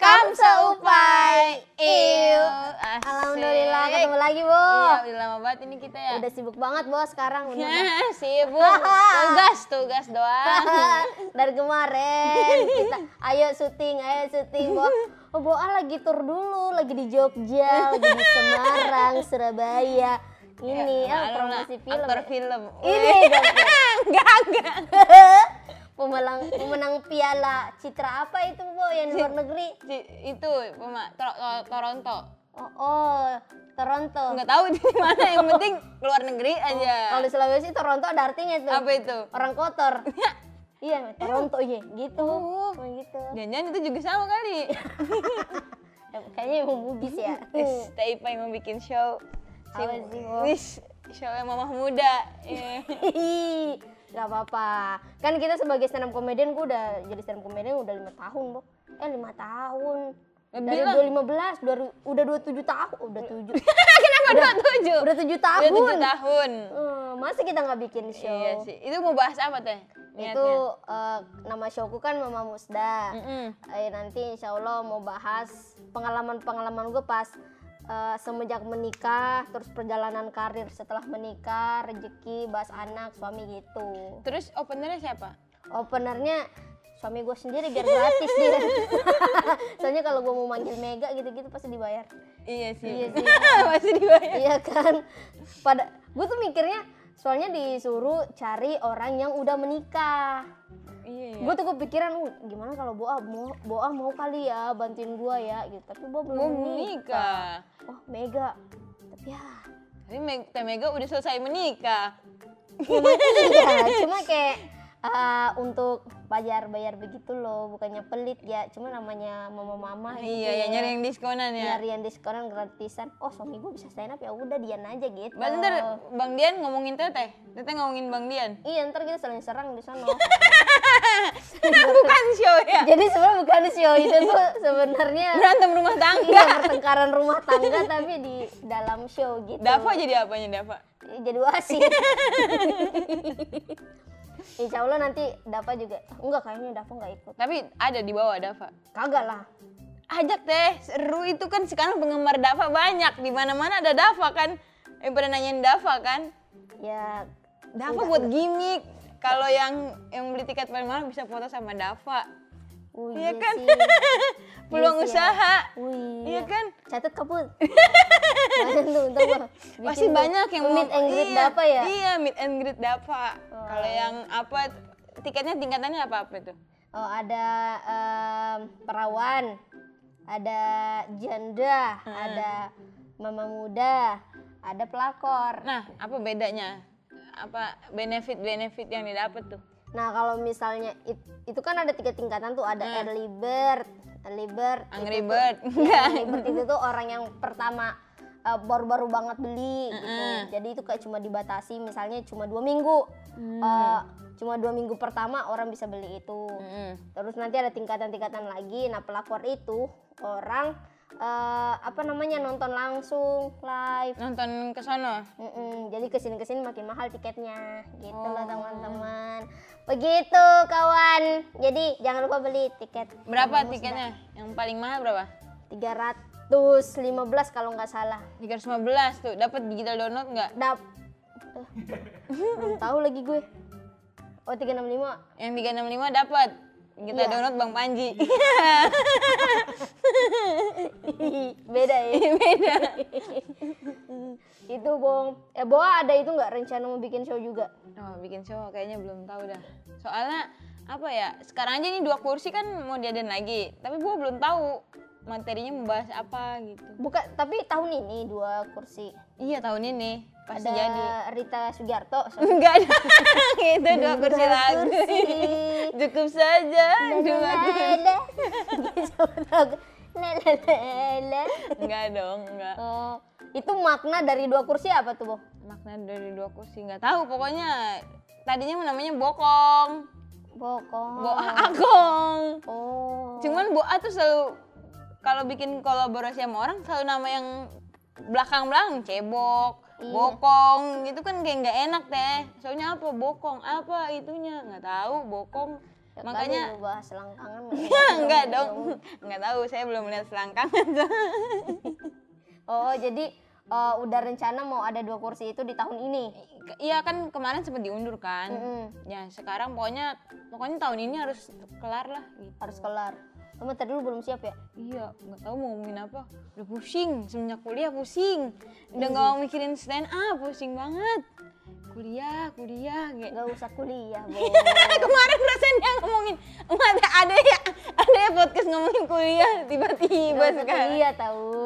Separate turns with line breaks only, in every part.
Kam Seupai. Iya.
Iu.
Asik.
Alhamdulillah ketemu lagi, Bu.
Iya, udah lama banget ini kita ya.
Udah sibuk banget, Bos, sekarang bener.
Nah, sibuk. Tugas, tugas doang.
Dari kemarin kita ayo syuting, ayo syuting, Bo. Oh, Boa lagi tur dulu, lagi di Jogja, lagi di Semarang, Surabaya. Ini
Ya,
ah,
maklum lah,
promosi film.
Aktor film. Oh,
Ini dong.
enggak, enggak.
pemenang pemenang piala citra apa itu, Bo, yang luar negeri?
Ci- Itu, Puma, Tor- Tor- Toronto.
Oh, oh Toronto.
Enggak tahu di mana, yang penting keluar negeri aja.
Oh, Kalau di Sulawesi Toronto ada artinya tuh.
Apa itu?
Orang kotor. iya, Toronto iya gitu.
Oh.
Emang gitu.
Jangan-jangan itu juga sama kali.
Iya. Eh, Kayaknya emang bugis ya.
Wis, Teh Ipa yang mau bikin show.
Apa
Si-
sih, Wo?
Wis, show yang mamah muda. Eh.
Hihi, Gak apa-apa. Kan kita sebagai stand up comedian, gue udah jadi stand up comedian udah lima tahun, Bo. Eh, lima tahun.
Lebih
Dari
lah.
2015, dari, udah 27 tahun. Udah 7.
Kenapa dua tujuh?
udah 7
Udah
tahun.
Iya, tujuh tahun.
Eh, masa kita nggak bikin show?
Iya sih. Itu mau bahas apa teh?
Itu eh, nama showku kan Mama Musda.
Mm-mm.
Eh, nanti insya Allah mau bahas pengalaman-pengalaman gue pas eh, semenjak menikah, terus perjalanan karir setelah menikah, rezeki, bahas anak, suami gitu.
Terus openernya siapa?
Openernya suami gue sendiri biar gratis dia. Soalnya kalau gue mau manggil Mega gitu-gitu pasti dibayar.
Iya sih.
Iya sih.
Masih dibayar.
iya kan? Pada gue tuh mikirnya soalnya disuruh cari orang yang udah menikah.
Iya. iya.
Gue tuh kepikiran "Uh, gimana kalau Boa mau Boa mau kali ya bantuin gue ya gitu. Tapi Boa belum
Mau
menikah.
menikah.
Wah Oh, mega. Tapi ya.
Tapi Meg- Teh Mega udah selesai menikah.
Iya, cuma kayak eh, untuk bayar-bayar begitu loh, bukannya pelit ya, cuma namanya mama-mama. gitu
Iya, ya
ya.
nyari yang diskonan ya.
Nyari yang diskonan gratisan. Oh, suami gue bisa stand up ya udah dian aja gitu.
Bentar, Bang Dian ngomongin Teteh. Teteh ngomongin Bang Dian.
Iya, ntar kita saling serang di sana.
Bukan show ya.
Jadi sebenarnya bukan show itu tuh sebenarnya
Berantem rumah
iya,
tangga.
pertengkaran rumah tangga tapi di dalam show gitu.
Dava jadi apanya Dava?
jadi wasit. Insya Allah nanti Dapa juga enggak kayaknya Dapa nggak ikut.
Tapi ada di bawah Dava.
Kagak lah.
Ajak teh, seru itu kan sekarang penggemar Dava banyak. Di mana-mana ada Dava kan. Yang pada nanyain Dava kan.
Ya
Dava buat gimmick. Kalau yang yang beli tiket paling mahal bisa foto sama Dava.
oh
Iya
iya
kan?
sih.
Peluang
Iya sih,
usaha.
Wih,
Iya kan?
Catat kaput. Banyak tuh, ntar gua bikin
Pasti
tuh.
banyak yang
meet and greet
iya,
Dapa ya.
Iya, meet and greet Dava. Kalau yang apa tiketnya tingkatannya apa-apa tuh?
Oh ada em, perawan, ada janda,
Hmm.
ada mama muda, ada pelakor.
Nah, apa bedanya? Apa benefit-benefit yang didapat tuh?
Nah kalau misalnya it- itu kan ada tiga tingkatan tuh ada early bird, early bird,
Hmm. Angry Bird.
Ya, early bird itu tuh orang yang pertama eh, baru-baru banget beli gitu. Jadi itu kayak cuma dibatasi misalnya cuma dua minggu, Eh, cuma dua minggu pertama orang bisa beli itu.
Mm-mm.
Terus nanti ada tingkatan-tingkatan lagi. Nah, pelakor itu orang eh, apa namanya nonton langsung live.
Nonton ke sono.
Mm-mm, jadi kesini kesini makin mahal tiketnya, gitu loh teman-teman. Begitu kawan. Jadi jangan lupa beli tiket.
Berapa tiketnya? Yang paling mahal berapa?
315 kalau nggak salah.
315 tuh. Dapat digital download nggak?
Dap. Eh, belum tahu lagi gue. Oh 365
Yang 365 dapat. Kita
Iya.
download Bang Panji.
beda ya
Iya, Beda.
itu bong eh boa ada itu nggak rencana mau bikin show juga
Oh, bikin show kayaknya belum tahu dah. Soalnya apa ya? Sekarang aja ini dua kursi kan mau diadain lagi. Tapi gua belum tahu materinya membahas apa gitu.
bukan tapi tahun ini dua kursi
Iya, tahun ini pasti
ada
jadi.
Rita Sugiarto
Enggak ada. Itu dua kursi lagu. Cukup saja dua kursi. Enggak dong, enggak.
Oh, itu makna dari dua kursi apa tuh, Bo?
Makna dari dua kursi enggak tahu pokoknya tadinya namanya bokong.
Bokong.
Boa Agong.
Oh.
Cuman Boa tuh selalu kalau bikin kolaborasi sama orang selalu nama yang belakang-belakang cebok,
Iya.
bokong gitu kan kayak nggak enak teh. Soalnya apa bokong apa itunya nggak tahu bokong
Ya kali
Makanya-
lu bahas selangkangan.
enggak dong enggak tahu saya belum lihat selangkangan
Oh, jadi eh, udah rencana mau ada dua kursi itu di tahun ini.
iya kan kemarin sempat diundur kan
Mm-mm,
ya sekarang pokoknya pokoknya tahun ini harus kelar lah gitu
harus kelar. Kamu tadi dulu belum siap ya?
iya nggak tahu mau ngomongin apa udah pusing semenjak kuliah pusing udah nggak mau mikirin stand up pusing banget kuliah kuliah gitu
Gak usah kuliah, Bo.
kemarin dosennya ngomongin "Emak, ada ada ya ada ya podcast ngomongin kuliah tiba-tiba
Gak usah
sekarang
kuliah Nah, iya tahu.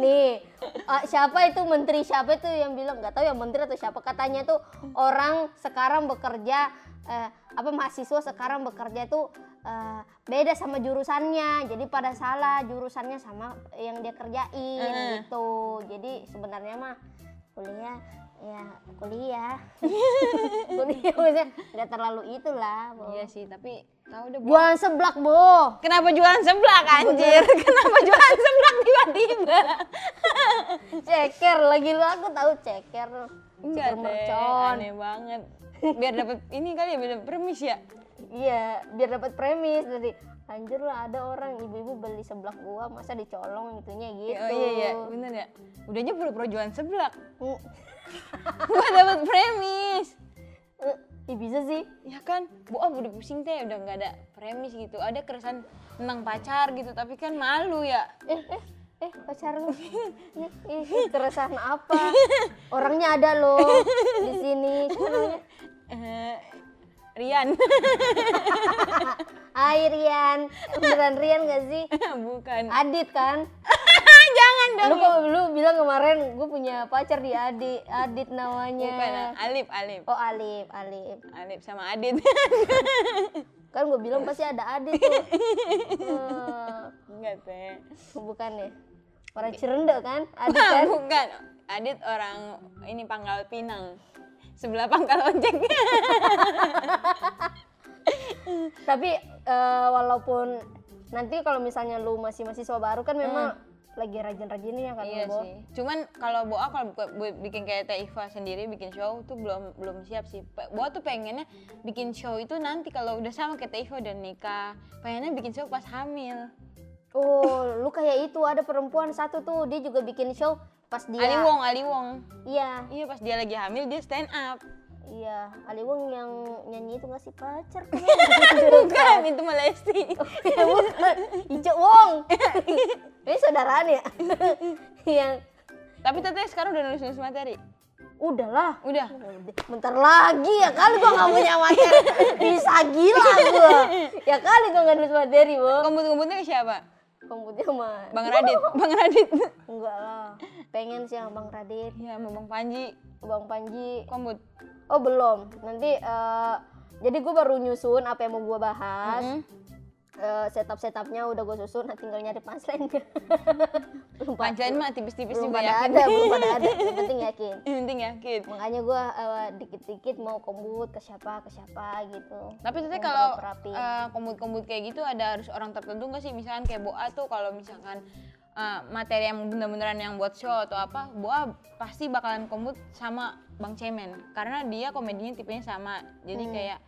Nih, eh, siapa itu menteri siapa itu yang bilang nggak tahu ya menteri atau siapa katanya tuh orang sekarang bekerja eh, apa mahasiswa sekarang bekerja itu eh, beda sama jurusannya. Jadi pada salah jurusannya sama yang dia kerjain
Heeh.
gitu. Jadi sebenarnya mah kuliah ya kuliah. kuliah maksudnya nggak terlalu itulah. Bo.
iya sih tapi tahu udah Bu.
Jualan seblak, Bo.
kenapa jualan seblak anjir kenapa jualan seblak tiba-tiba
ceker lagi lu aku tahu ceker
enggak
ceker
deh,
mercon
aneh banget biar dapat ini kali ya biar dapet permis ya
iya biar dapat premis dari anjir lah ada orang ibu-ibu beli seblak gua masa dicolong itunya gitu
oh iya iya bener ya udahnya pura-pura jualan seblak
Mm,
gua dapat premis
eh, ih, bisa sih
ya kan boah udah pusing teh udah nggak ada premis gitu ada keresahan tentang pacar gitu tapi kan malu ya
eh eh eh pacar lu Eh, Ih, ih, keresahan apa orangnya ada loh di sini Siapa namanya?
Eh, Rian
Hai Rian beneran Rian gak sih
bukan
Adit kan
jangan dong
lu kok lu bilang kemarin gue punya pacar di Adit Adit namanya
bukan Alif Alif
Oh Alif, Alif.
Alif sama Adit
Kan gue bilang pasti ada Adit tuh. Eh,
enggak teh
bukan ya? Orang Cirende kan? Adit
Wah,
kan?
bukan Adit orang ini Pangkal Pinang sebelah Pangkal Ojek
Tapi eh, walaupun nanti kalau misalnya lu masih mahasiswa baru kan memang lagi rajin-rajinnya kan
Hmm. iya
lu, Bo?
sih cuman kalau Boa kalau buka- bu- bikin kayak Teh Iva sendiri bikin show tuh belum belum siap sih Pe- Boa tuh pengennya bikin show itu nanti kalau udah sama kayak Teh Iva udah nikah pengennya bikin show pas hamil
Oh, lu kayak itu ada perempuan satu tuh dia juga bikin show pas dia
Ali Wong Ali Wong
Iya,
iya pas dia lagi hamil dia stand up
iya. Ali Wong yang nyanyi itu gak sih pacar? kan?
bukan itu mah Lesti
Ya bukan. Ica Wong. Ini saudaraan ya? yang
tapi Teteh sekarang udah nulis nulis materi
udahlah
udah
Bentar lagi ya kali gua nggak punya materi bisa gila gua ya kali gua nggak nulis materi bu
komput-komputnya ke siapa
komputer mah
Bang Radit Bang Radit
enggak lah pengen sih sama bang Radit
ya sama Bang Panji
bang Panji
komput
oh belum nanti eh, jadi gua baru nyusun apa yang mau gua bahas
Mm-mm.
setup setupnya udah gua susun nah tinggal nyari punchline belum pa-
Panjain mah tipis-tipis
belum
juga
pada
yakin
ada belum pada ada yang penting yakin
yang penting yakin
makanya gua eh, dikit-dikit mau kombut ke siapa ke siapa gitu
Tapi teteh
Yang
kalau
rapi.
eh, kombut-kombut kayak gitu ada harus orang tertentu nggak sih? Misalkan kayak Boa tuh kalau misalkan eh, materi yang bener-beneran yang buat show atau apa, Boa pasti bakalan kombut sama Bang Cemen karena dia komedinya tipenya sama. Jadi
Hmm.
kayak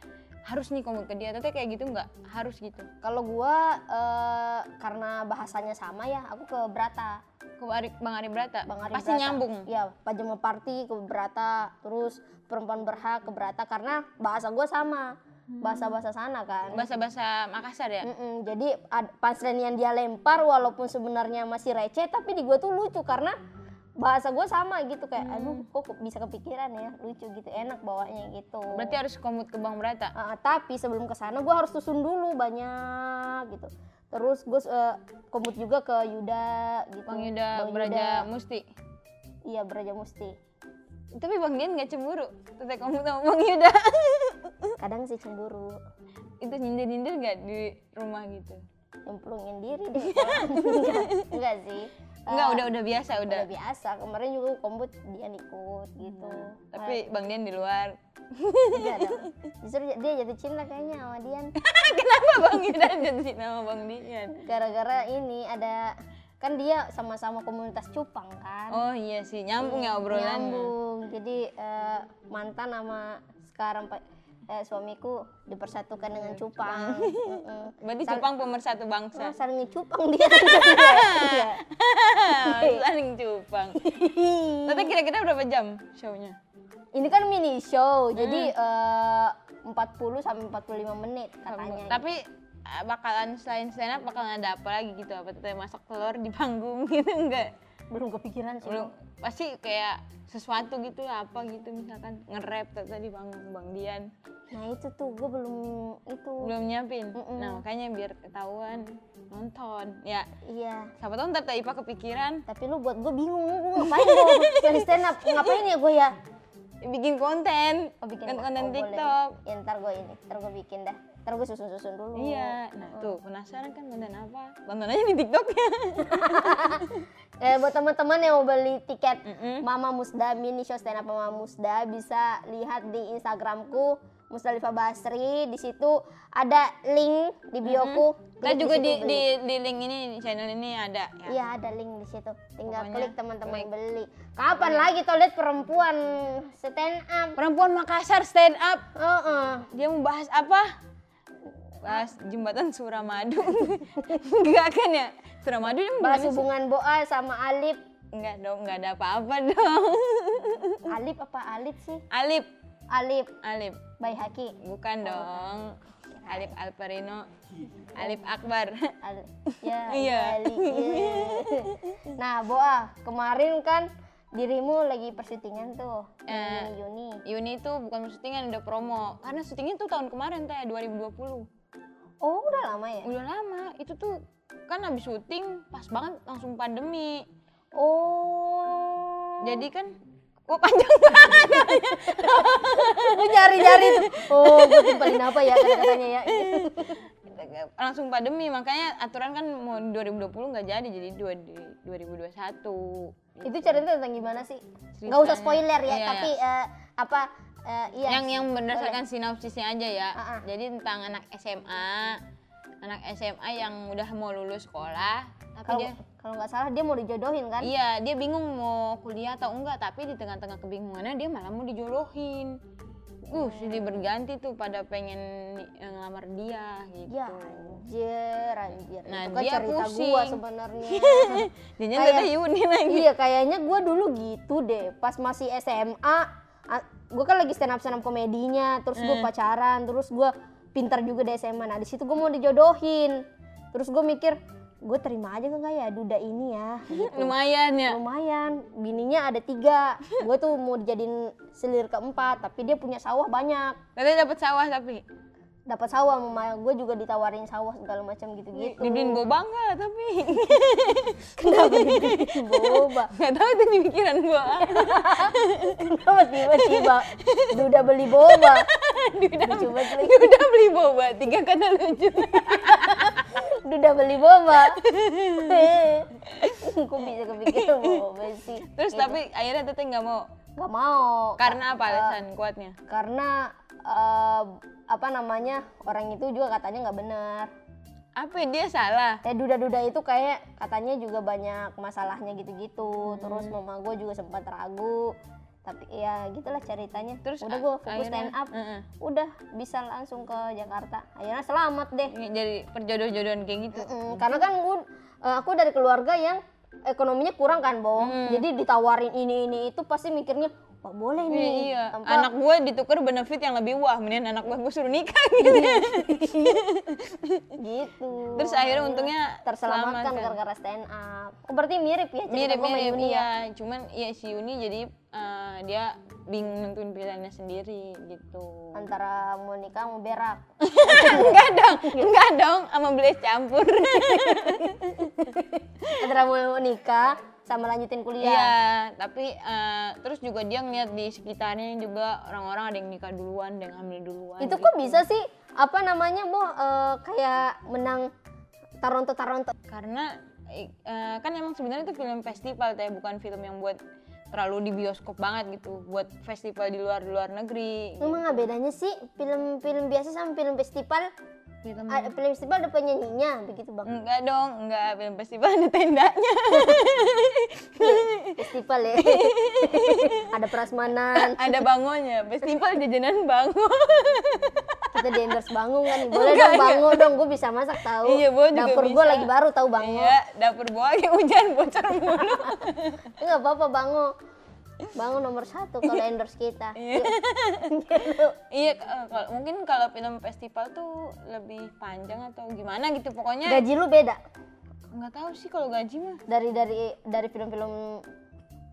harus nih kombut ke dia. Teteh kayak gitu nggak? Harus gitu.
Kalau gua eh, karena bahasanya sama ya, aku ke Brata,
Ke Ari- Bang Ari Brata.
Bang Ari
pasti
Brata.
nyambung.
Iya, pajama party ke Brata, terus perempuan berhak ke Brata karena bahasa gua sama, bahasa-bahasa sana kan.
Bahasa-bahasa Makassar Hmm. ya.
Mm-mm, jadi ad- punchline yang dia lempar walaupun sebenarnya masih receh tapi di gua tuh lucu karena bahasa gua sama gitu kayak
Hmm.
aduh kok ke- bisa kepikiran ya lucu gitu enak bawanya gitu
Berarti harus kombut ke Bang Brata.
Ah, tapi sebelum ke sana gue harus susun dulu banyak gitu. Terus gue komut juga ke Yuda gitu.
Bang Yuda
Bang
Braja Musti.
Iya Braja Musti.
Tapi Bang Dian nggak cemburu. Teteh kombut sama Bang Yuda.
Kadang sih cemburu,
itu nyindir-nyindir nggak di rumah gitu
nyemplungin diri deh. enggak, enggak sih.
nggak
Eh,
udah udah biasa udah
udah biasa. Kemarin juga gua komut dia ikut gitu.
Hmm, tapi bang Dian di luar
Eh, enggak dong. Justru dia jatuh cinta kayaknya sama Dian.
kenapa bang Yuda jadi nama bang Dian
Gara-gara ini ada kan dia sama-sama komunitas Cupang kan.
oh iya sih nyambung ya obrolan
nyambung jadi eh, mantan sama sekarang pak eh, suamiku dipersatukan dengan cupang. Mm-mm.
Berarti
Sal-
cupang pemersatu bangsa.
Oh, saling ngecupang dia. Iya.
Saling cupang. Tapi kira-kira berapa jam show-nya?
Ini kan mini show,
Mm.
jadi eh, 40 sampai 45 menit katanya.
Tapi eh, bakalan selain stand up bakalan ada apa lagi gitu apa tuh, masak telur di panggung gitu enggak
belum kepikiran sih.
belum pasti kayak sesuatu gitu apa gitu misalkan nge-rap tata di panggung Bang Dian
Nah, itu tuh gue belum itu.
belum nyiapin
Mm-mm.
nah makanya biar ketahuan nonton ya
Iya.
siapa tahu ntar Teh Ipa kepikiran
Tapi lu buat gue bingung, gue ngapain gue stand, stand up, ngapain ya gue ya?
bikin konten
Oh bikin
Kan konten
oh, boleh.
TikTok
Ya, ntar gue ini, ntar gue bikin dah. Ntar gue susun-susun dulu.
iya nah tuh penasaran kan konten apa tonton aja di TikToknya
Eh, buat teman-teman yang mau beli tiket
Mm-mm.
Mama Musda mini show stand up Mama Musda bisa lihat di Instagramku Musdalifah Basri. Di situ ada link di bioku.
Kita
Klik
juga
situ
di,
beli.
di, di link ini di channel ini ada ya.
Iya ada link di situ. Tinggal
Pokoknya
klik teman-teman
klik.
beli. Kapan lagi tuh lihat perempuan stand up?
Perempuan Makassar stand up.
Oh, oh.
Dia mau bahas apa? Bahas jembatan Suramadu. enggak kan ya? Suramadu dia mau jembatan
Bahas
Sur-
hubungan Boa sama Alip.
Enggak dong, enggak ada apa-apa dong.
Alip apa Alip sih?
Alip,
Alip
Alip.
by Haki.
Bukan dong. Alip Alperino. Alip Akbar.
Al- ya,
Iya.
Bali, iya. nah, Boa, kemarin kan dirimu lagi persitingan tuh.
Eh.
Yuni Yuni.
Yuni itu bukan syutingan udah promo. Karena syutingnya tuh tahun kemarin teh 2020.
Oh, udah lama ya?
Udah lama. Itu tuh kan habis syuting pas banget langsung pandemi.
Oh.
Jadi kan Wah panjang banget.
Gue nyari-nyari tuh. Oh, gue timpalin apa ya kata-katanya ya.
Langsung pandemi makanya aturan kan mau 2020 nggak jadi jadi dua di 2021.
Itu ceritanya tentang gimana sih? Nggak
Ceritanya.
usah spoiler ya,
Iya,
tapi eh, apa eh, iya.
Yang yang berdasarkan sinopsisnya aja ya.
Ah, ah.
Jadi tentang anak SMA anak SMA yang udah mau lulus sekolah tapi
kalau
dia
kalau nggak salah dia mau dijodohin kan?
iya dia bingung mau kuliah atau enggak tapi di tengah-tengah kebingungannya dia malah mau dijodohin.
Hmm.
Uh, silih berganti tuh pada pengen ni- ngelamar dia gitu.
Ya anjir, anjir.
Nah,
itu kan
dia
cerita
pusing.
gua sebenarnya.
Jadinya
Kayak-
teteh Yuni lagi.
Iya kayaknya gue dulu gitu deh pas masih SMA gue kan lagi stand up stand up komedinya terus gue pacaran terus gue pintar juga di SMA nah di situ gue mau dijodohin terus gue mikir gue terima aja kagak ya duda ini ya gitu.
Lumayan ya.
lumayan bininya ada tiga gue tuh mau dijadiin selir keempat tapi dia punya sawah banyak
Teteh dapat sawah tapi.
dapat sawah mama gue juga ditawarin sawah segala macam gitu gitu
Dibeliin boba enggak tapi.
kenapa dibeliin boba
Enggak tahu itu di pikiran gua.
Iya, kenapa tiba-tiba duda beli boba
Duda,
Lucu banget lagi.
Duda beli boba, tiga kata lucu.
Duda beli boba. Kok bisa kepikiran boba sih?
Terus tapi akhirnya teteh nggak mau.
Gak mau.
Karena apa
Iya, Eh,
alasan kuatnya?
karena eh, apa namanya orang itu juga katanya nggak benar.
Apa ya, dia salah?
Eh duda-duda itu kayak katanya juga banyak masalahnya gitu-gitu. Terus
Hmm.
mama gue juga sempat ragu. Tapi ya gitulah ceritanya.
Terus
udah
a-
gue fokus
akhirnya- Hmm.
stand up.
Heeh.
Udah bisa langsung ke Jakarta. Akhirnya selamat deh.
Ini Jadi perjodoh-jodohan kayak gitu.
Mm, karena kan gue aku dari keluarga yang ekonominya kurang kan, Bo.
Mm.
Jadi ditawarin ini ini itu pasti mikirnya wah boleh nih.
Iya,
Apa-
anak gue ditukar benefit yang lebih wah, mendingan anak gue gue suruh nikah gitu.
Iya. gitu.
Terus akhirnya untungnya
terselamatkan
selamat, kan?
gara-gara stand up. Oh, berarti mirip ya cerita
mirip
gua sama
mirip
Yuni ya.
iya cuman ya si Yuni jadi eh, dia bingung nentuin pilihannya sendiri gitu
Antara mau nikah mau berak.
enggak dong enggak dong sama beli campur
Antara mau nikah sama lanjutin kuliah.
iya tapi eh, terus juga dia ngeliat di sekitarnya juga orang-orang ada yang nikah duluan ada yang hamil duluan
Itu kok bisa sih apa namanya, Bo? eh, kayak menang Taronto Taronto.
karena eh, eh, kan emang sebenarnya itu film festival teh bukan film yang buat terlalu di bioskop banget gitu buat festival di luar luar negeri
Emang nggak bedanya sih film-film biasa sama film festival?
gitu
Ada film festival ada penyanyinya begitu bang.
enggak dong enggak film festival ada tendanya
Festival ya. ada prasmanan.
ada bangonya festival jajanan bango
Kita di endorse bangun kan. Boleh
Enggak,
dong
enggak.
bangun dong. Gue bisa masak tahu.
Iya, gua juga
Dapur gue
bisa.
lagi baru tahu bangun.
iya dapur gua lagi hujan bocor mulu
Enggak apa-apa bangun. Bangun nomor satu kalau endorse kita.
Iya.
Gitu.
iya k- eh, kalau mungkin kalau film festival tuh lebih panjang atau gimana gitu pokoknya
Gaji lu beda
nggak tahu sih kalau gaji mah
dari dari dari film-film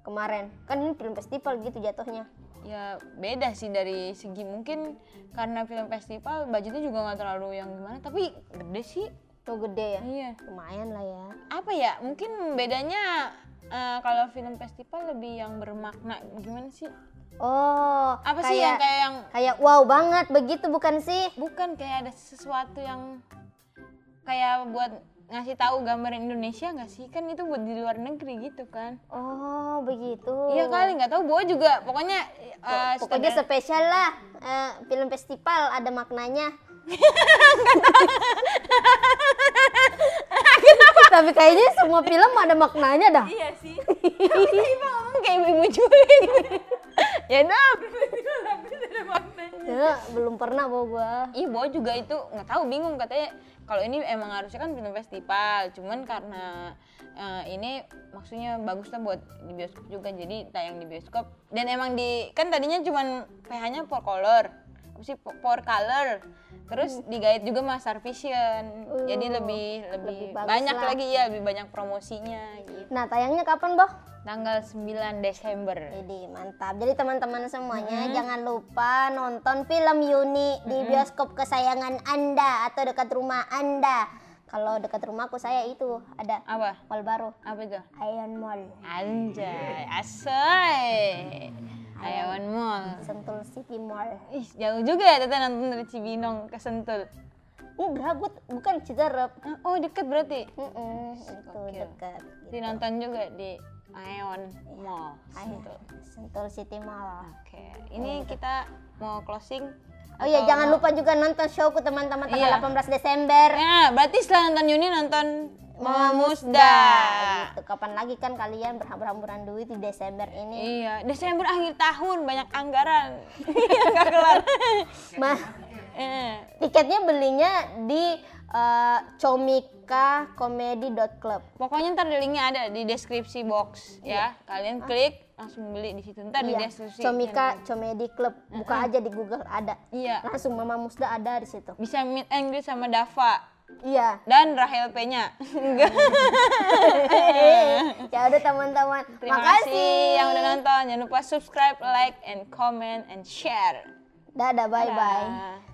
kemarin. Kan ini film festival gitu jatuhnya.
ya beda sih dari segi mungkin karena film festival budgetnya juga nggak terlalu yang gimana tapi gede sih
Tuh gede ya.
iya
Lumayan lah ya.
apa ya mungkin bedanya eh, kalau film festival lebih yang bermakna gimana sih
Oh,
apa
kayak,
sih yang kayak yang
kayak wow banget begitu bukan sih?
bukan kayak ada sesuatu yang kayak buat ngasih tahu gambar Indonesia nggak sih kan itu buat di luar negeri gitu kan
Oh, begitu.
iya kali nggak tahu Boa juga pokoknya eh,
Pokoknya
standar-
spesial lah. Eh, film festival ada maknanya. Tapi kayaknya semua film ada maknanya dah.
iya sih Tapi tadi Bang ngomong kayak ibu cuit ya dong
Ya, belum pernah bawa gua.
iya Boa juga itu nggak tahu bingung katanya kalau ini emang harusnya kan film festival cuman karena eh, ini maksudnya bagus lah buat di bioskop juga jadi tayang di bioskop dan emang di kan tadinya cuman PH-nya four color apa sih Po- four color
Hmm.
terus digait juga sama Star Vision jadi
Uh,
lebih lebih,
lebih bagus
banyak
lah.
lagi ya lebih banyak promosinya gitu
Nah, tayangnya kapan, Boh?
tanggal 9 Desember
Jadi mantap. Jadi teman-teman semuanya jangan lupa nonton film Yuni di bioskop kesayangan Anda atau dekat rumah Anda. Kalau dekat rumahku saya itu ada
apa
mall baru,
apa itu
Ion Mall.
anjay asoy Ayawan Mall
Sentul City Mall.
Ih, jauh juga ya Tete nonton dari Cibinong ke Sentul.
Enggak, gue bukan Citarap.
Ah, Oh, deket berarti.
Mm-mm, itu
Gokil.
dekat.
Jadi nonton juga di Aeon Mall
Iya.
Sentul.
Ah, Sentul City Mall.
Oke, ini kita mau closing.
Oh iya,
atau
jangan
mau-
lupa juga nonton showku teman-teman tanggal
Iya.
18 Desember.
Nah, berarti setelah nonton Yuni nonton
Memusda.
Memusda.
Gitu. Kapan lagi kan kalian berhamburan duit di Desember ini?
Iya, Desember akhir tahun banyak anggaran. Enggak kelar.
Mah,
Eh,
tiketnya belinya di eh, comikacomedy.club.
Pokoknya ntar linknya ada di deskripsi box ya. Kalian klik langsung beli di situ. Ntar di
Ah. Iya,
deskripsi.
Comika Comedy Club. Buka aja di Google ada.
Iya.
Langsung Mama Musda ada di situ.
Bisa meet and greet sama Dava.
Iya.
dan Rahel P-nya. Enggak.
ya udah teman-teman.
Terima kasih yang udah nonton. Jangan lupa subscribe, like, and comment, and share.
Dadah, bye-bye.
Dadah.